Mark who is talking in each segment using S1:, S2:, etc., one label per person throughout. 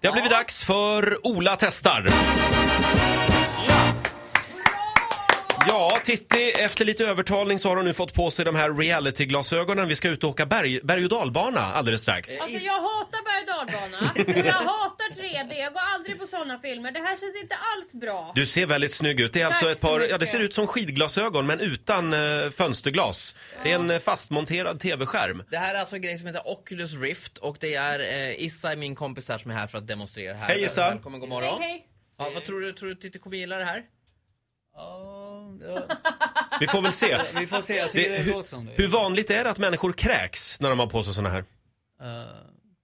S1: Det har blivit dags för Ola testar. Ja, Titti, efter lite övertalning så har hon nu fått på sig de här reality-glasögonen. Vi ska ut och åka berg, berg och dalbana alldeles strax.
S2: Alltså jag hatar berg och dalbana och jag hatar 3D. Jag går aldrig på såna filmer. Det här känns inte alls bra.
S1: Du ser väldigt snygg ut. Det är alltså
S2: Tack
S1: ett
S2: så
S1: par,
S2: mycket.
S1: ja det ser ut som skidglasögon men utan eh, fönsterglas. Det är en eh, fastmonterad tv-skärm.
S3: Det här är alltså en grej som heter Oculus Rift och det är eh, Issa, min kompis här, som är här för att demonstrera här.
S1: Hej, Issa.
S3: Välkommen, god
S2: Hej,
S3: morgon.
S2: hej.
S3: Ja, vad tror du, tror du Titti kommer gilla det här?
S1: Vi får väl se.
S4: Vi får se, jag
S1: Det,
S4: tycker det,
S1: hur,
S4: låter som det.
S1: hur vanligt är det att människor kräks när de har på sig såna här?
S4: Eh,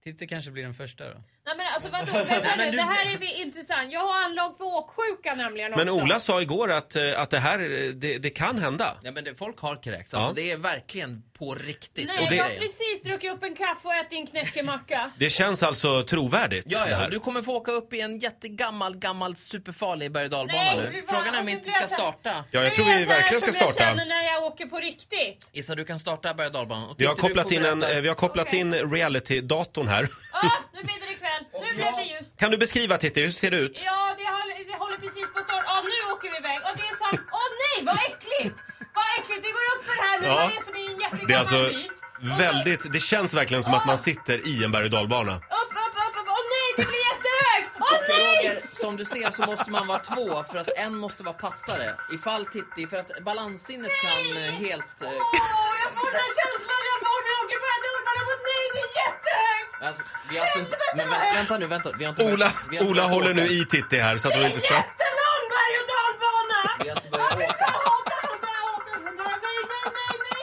S4: Titti kanske blir den första då.
S2: Nej men alltså vadå? Vänta
S3: men
S2: nu.
S3: du-
S2: Det här är vi intressant. Jag har anlag för åksjuka nämligen också.
S1: Men Ola sa igår att, eh, att det här, eh, det, det kan hända.
S3: Ja, men det, folk har kräks.
S1: Ja.
S3: Alltså, Det är verkligen på riktigt.
S2: Nej,
S3: Och det-
S2: jag har precis druckit upp en kaffe och ätit en knäckemacka.
S1: Det känns alltså trovärdigt.
S3: Ja,
S1: det
S3: ja,
S1: här.
S3: du kommer få åka upp i en jättegammal, gammal superfarlig berg och dalbana
S2: Nej,
S3: nu.
S2: fy fan,
S3: Frågan är om
S2: nu
S3: vi inte
S2: blir
S3: ska
S2: jag så-
S3: starta.
S1: ja jag
S2: Nu
S1: tror
S2: är
S1: vi
S2: så här
S1: verkligen ska
S2: som jag
S1: starta.
S2: känner när jag åker på riktigt.
S3: Issa, du kan starta berg och dalbanan. Och
S1: Vi har
S3: Titti, du
S1: kopplat
S3: får
S1: in, en,
S3: berätta.
S1: eh, vi har kopplat
S2: Okej.
S1: in reality-datorn här.
S2: Ah, nu blir det ikväll. Nu blev det ljust.
S1: Kan du beskriva Titti, hur ser det ut?
S2: Ja, det håller, vi håller precis på att starta. Ja, nu åker vi iväg. Och det är som... Åh nej, vad äckligt! Vad äckligt, det går upp för här nu.
S1: Ja.
S2: Man är som i en jättegammal
S1: Det är alltså
S2: bil.
S1: väldigt, det känns verkligen som att man sitter i en berg och dalbana.
S2: Upp, upp, upp, upp. Åh nej, det blir jättehögt! Åh nej!
S3: Roger, som du ser så måste man vara två för att en måste vara passare. Ifall Titti, för att balanssinnet kan eh, helt...
S2: Åh,
S3: eh,
S2: jag får den här känslan jag får när jag åker på Hedormarna mot nej, det är jättehögt!
S3: Alltså, vi har alltså inte, men vä- vänta nu, vänta. Vi har inte
S1: Ola,
S3: börjat- vi har inte
S1: Ola
S3: börjat
S1: håller nu
S3: åka.
S1: i Titti här så att hon inte ska...
S2: Jättelång berg och dalbana!
S3: Vi har inte börjat
S2: Jag
S3: åka.
S2: hatar sånt där, jag hatar sånt där. Nej, nej, nej, nej, nej!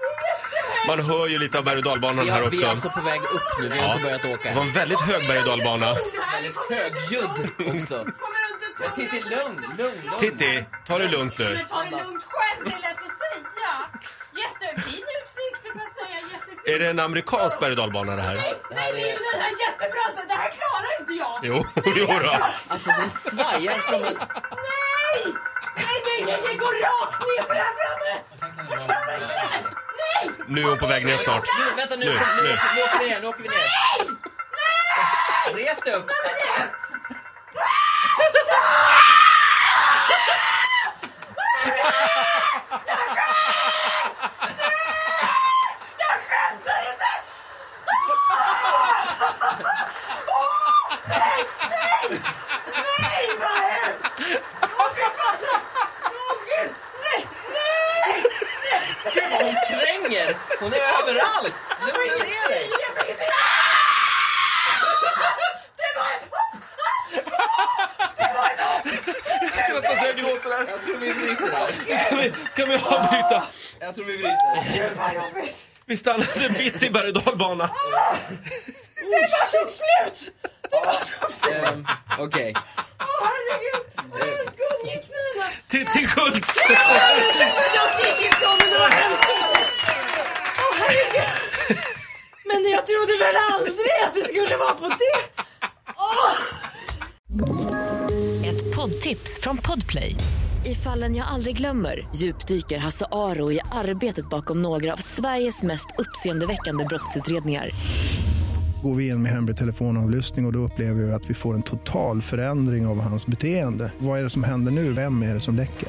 S2: Det är jättehögt!
S1: Man hör ju lite av berg och dalbanan
S3: Vi,
S1: här
S3: har, vi är
S1: också.
S3: alltså på väg upp nu, vi har
S1: Ja.
S3: inte börjat åka.
S1: Det var en väldigt hög berg och dalbana.
S3: Väldigt högljudd också.
S2: Kommer runt och
S3: Men Titti,
S2: tuggar.
S3: lugn, lugn, lugn.
S1: Titti, ta det lugnt nu.
S2: Men ta det lugnt själv, det är lätt att säga. Jättefin utsikt, det får jag säga. Jättefin.
S1: Är det en amerikansk berg och dalbana det här?
S3: Det
S2: Nej,
S3: här
S2: det är
S3: är...
S2: ju den här jättebra. Det här klarar inte jag.
S1: Jo, jo då.
S3: Alltså hon svajar som en...
S2: Nej! Nej, nej, nej, det går rakt ner för här framme. Jag klarar inte det här. Nej!
S1: Nu är hon på väg ner snart.
S3: Nu, vänta nu,
S1: Nu,
S3: nu, nu,
S1: nu.
S3: åker- nu åker vi ner, nu åker vi ner. Nej! Res dig upp.
S2: Nej, vad hemskt! Åh, fy fan. Åh, gud. Nej, nej!
S3: Gud vad hon kränger! Hon är överallt! Lugna ner dig!
S2: Jag fick se- Det var ett hopp!
S1: Skrattar så jag gråter här.
S3: Jag tror vi bryter där.
S1: Kan vi, kan vi avbryta?
S3: Jag tror vi bryter.
S1: Vi stannade mitt i berg och dalbana.
S2: Det var tog slut!
S3: Ehm, Okej.
S2: Åh, herregud. Åh, gungeknölar.
S1: Titti Schultz!
S2: Jag skrek inte om men det var hemskt. Åh herregud. Men jag trodde väl aldrig att det skulle vara på det. Åh!
S5: Ett poddtips från Podplay. I fallen jag aldrig glömmer djupdyker Hasse Aro i arbetet bakom några av Sveriges mest uppseendeväckande brottsutredningar.
S6: Går vi in med hemlig telefonavlyssning och, och då upplever vi att vi får en total förändring av hans beteende. Vad är det som händer nu? Vem är det som läcker?